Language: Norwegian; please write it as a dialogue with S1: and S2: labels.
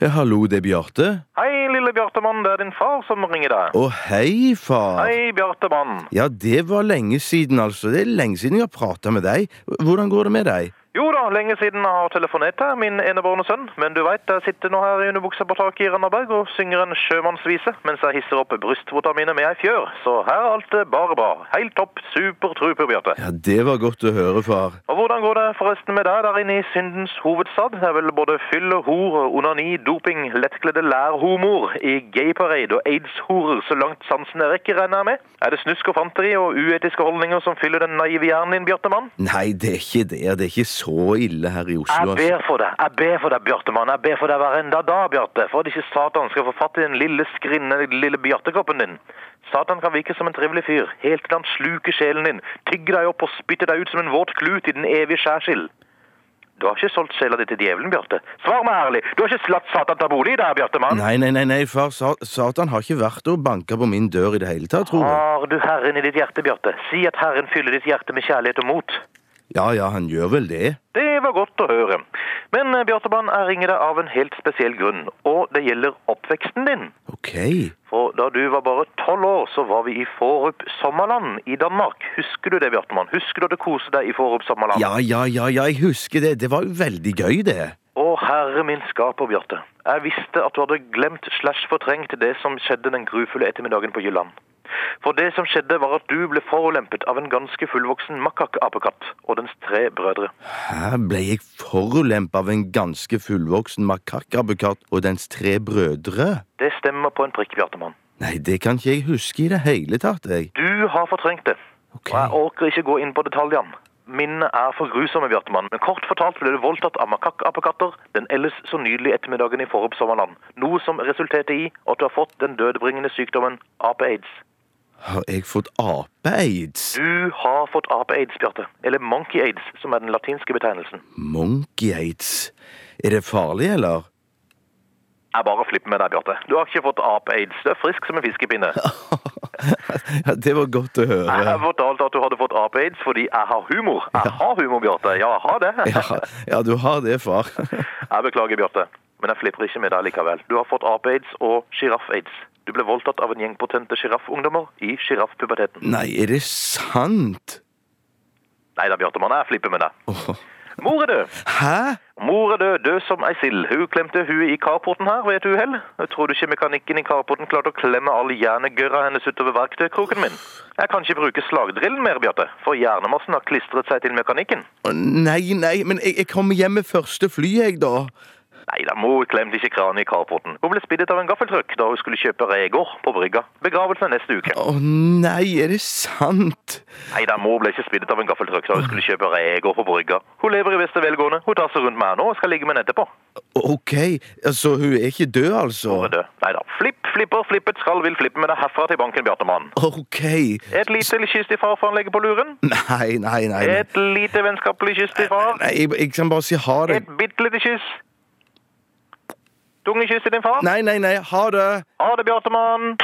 S1: Ja, Eh, hallo, det er Bjarte.
S2: Hei, lille Bjartemann, det er din far som ringer deg.
S1: Å, hei, far.
S2: Hei, Bjartemann.
S1: Ja, det var lenge siden, altså. Det er lenge siden jeg har prata med deg. Hvordan går det med deg?
S2: Jo da, lenge siden jeg har telefonert deg, min enebårne sønn. Men du veit, jeg sitter nå her i underbuksa på taket i Randaberg og synger en sjømannsvise mens jeg hisser opp brystvotene mine med ei fjør. Så her er alt eh, bare bra. Heilt topp, super truper, Bjarte.
S1: Ja, det var godt å høre, far.
S2: Og hvordan går det forresten med deg der inne i syndens hovedstad? Det er vel både fylle, hor, onani, doping, lettkledde lærhomoer i gayparade og aids-horer så langt sansene rekker, regner jeg med? Er det snusk og fanteri og uetiske holdninger som fyller den naive hjernen din, Bjartemann?
S1: Nei, det er ikke det. Det er ikke så ille her i
S2: Jeg
S1: Oslo.
S2: ber for deg, jeg ber for deg, Bjartemann. Jeg ber for deg hver enda dag, Bjarte. For at ikke Satan skal få fatt i den lille skrinne, lille bjartekroppen din. Satan kan virke som en trivelig fyr, helt til han sluker sjelen din, tygger deg opp og spytter deg ut som en våt klut i den evige skjærsild. Du har ikke solgt sjela di til djevelen, Bjarte. Svar meg ærlig, du har ikke latt Satan ta bolig i deg, Bjartemann.
S1: Nei, nei, nei, nei, far. Sa- Satan har ikke vært og banka på min dør i det hele tatt, tror jeg.
S2: Har du Herren i ditt hjerte, Bjarte? Si at Herren fyller ditt hjerte med kjærlighet og mot.
S1: Ja ja, han gjør vel det.
S2: Det var godt å høre. Men eh, Bjartemann, jeg ringer deg av en helt spesiell grunn, og det gjelder oppveksten din.
S1: Ok.
S2: For da du var bare tolv år, så var vi i Forup Sommerland i Danmark. Husker du det, Bjartemann? Husker du at du koste deg i Forup Sommerland?
S1: Ja ja ja, ja, jeg husker det. Det var jo veldig gøy, det.
S2: Å, herre min skaper, Bjarte. Jeg visste at du hadde glemt slash fortrengt det som skjedde den grufulle ettermiddagen på Jylland. For det som skjedde, var at du ble forulempet av en ganske fullvoksen makakapekatt og dens tre brødre.
S1: Her ble jeg forulempa av en ganske fullvoksen makakabbekatt og dens tre brødre.
S2: Det stemmer på en prikk, Bjartemann.
S1: Nei, det kan ikke jeg huske i det hele tatt, jeg.
S2: Du har fortrengt det.
S1: Ok.
S2: Og jeg orker ikke gå inn på detaljene. Minnet er for grusomme, Bjartemann. Men kort fortalt ble du voldtatt av makakkapekatter den ellers så nydelige ettermiddagen i Forup sommerland. Noe som resulterte i at du har fått den dødbringende sykdommen ape-aids.
S1: Har jeg fått ape-aids?
S2: Du har fått ape-aids, Bjarte. Eller monkey-aids, som er den latinske betegnelsen.
S1: Monkey-aids? Er det farlig, eller?
S2: Jeg bare flipper med deg, Bjarte. Du har ikke fått ape-aids. Du er frisk som en fiskepinne.
S1: Ja, det var godt å
S2: Jeg
S1: høre.
S2: har fortalt at du hadde fått ape-aids fordi jeg har humor. Jeg har humor, Bjarte. Ja, jeg har det.
S1: Ja, ja, du har det, far.
S2: Jeg beklager, Bjarte, men jeg flipper ikke med deg likevel. Du har fått ape-aids og sjiraff-aids. Du ble voldtatt av en gjeng potente sjiraffungdommer i sjiraffpuberteten.
S1: Nei, er det sant?
S2: Nei da, Bjartemann, jeg flipper med deg.
S1: Åh.
S2: Mor er død.
S1: Hæ?
S2: Mor er død, død som ei sild. Hun klemte huet i carporten her ved et uhell. Jeg Tror du ikke mekanikken i carporten klarte å klemme all hjernegørra hennes utover verktøykroken min? Jeg kan ikke bruke slagdrillen mer, Bjarte, for hjernemassen har klistret seg til mekanikken.
S1: Å, Nei, nei, men jeg, jeg kommer hjem med første fly, jeg, da.
S2: Nei da, mor klemte ikke kranen i carporten. Hun ble spiddet av en gaffeltrøkk da hun skulle kjøpe reker på brygga. Begravelse neste uke.
S1: Å nei, er det sant?
S2: Nei, da mor ble ikke spiddet av en gaffeltrøkk da hun skulle kjøpe reker på brygga. Hun lever i beste velgående. Hun tar seg rundt meg nå og skal ligge med henne etterpå.
S1: Ok, altså, hun er ikke død, altså?
S2: Hun er død. Nei da. Flipp, flipper, flippet skal vil flippe med deg herfra til banken, Bjartemann.
S1: Ok.
S2: Et lite kyss til far for han legger på luren.
S1: Nei, nei, nei. nei.
S2: Et lite vennskapelig kyss til far.
S1: Nei, jeg, jeg kan bare si ha det.
S2: Et bitte lite kyss. Tungekyss til din far.
S1: Nei, nei, nei, ha det.
S2: Ha det, Bjartemann.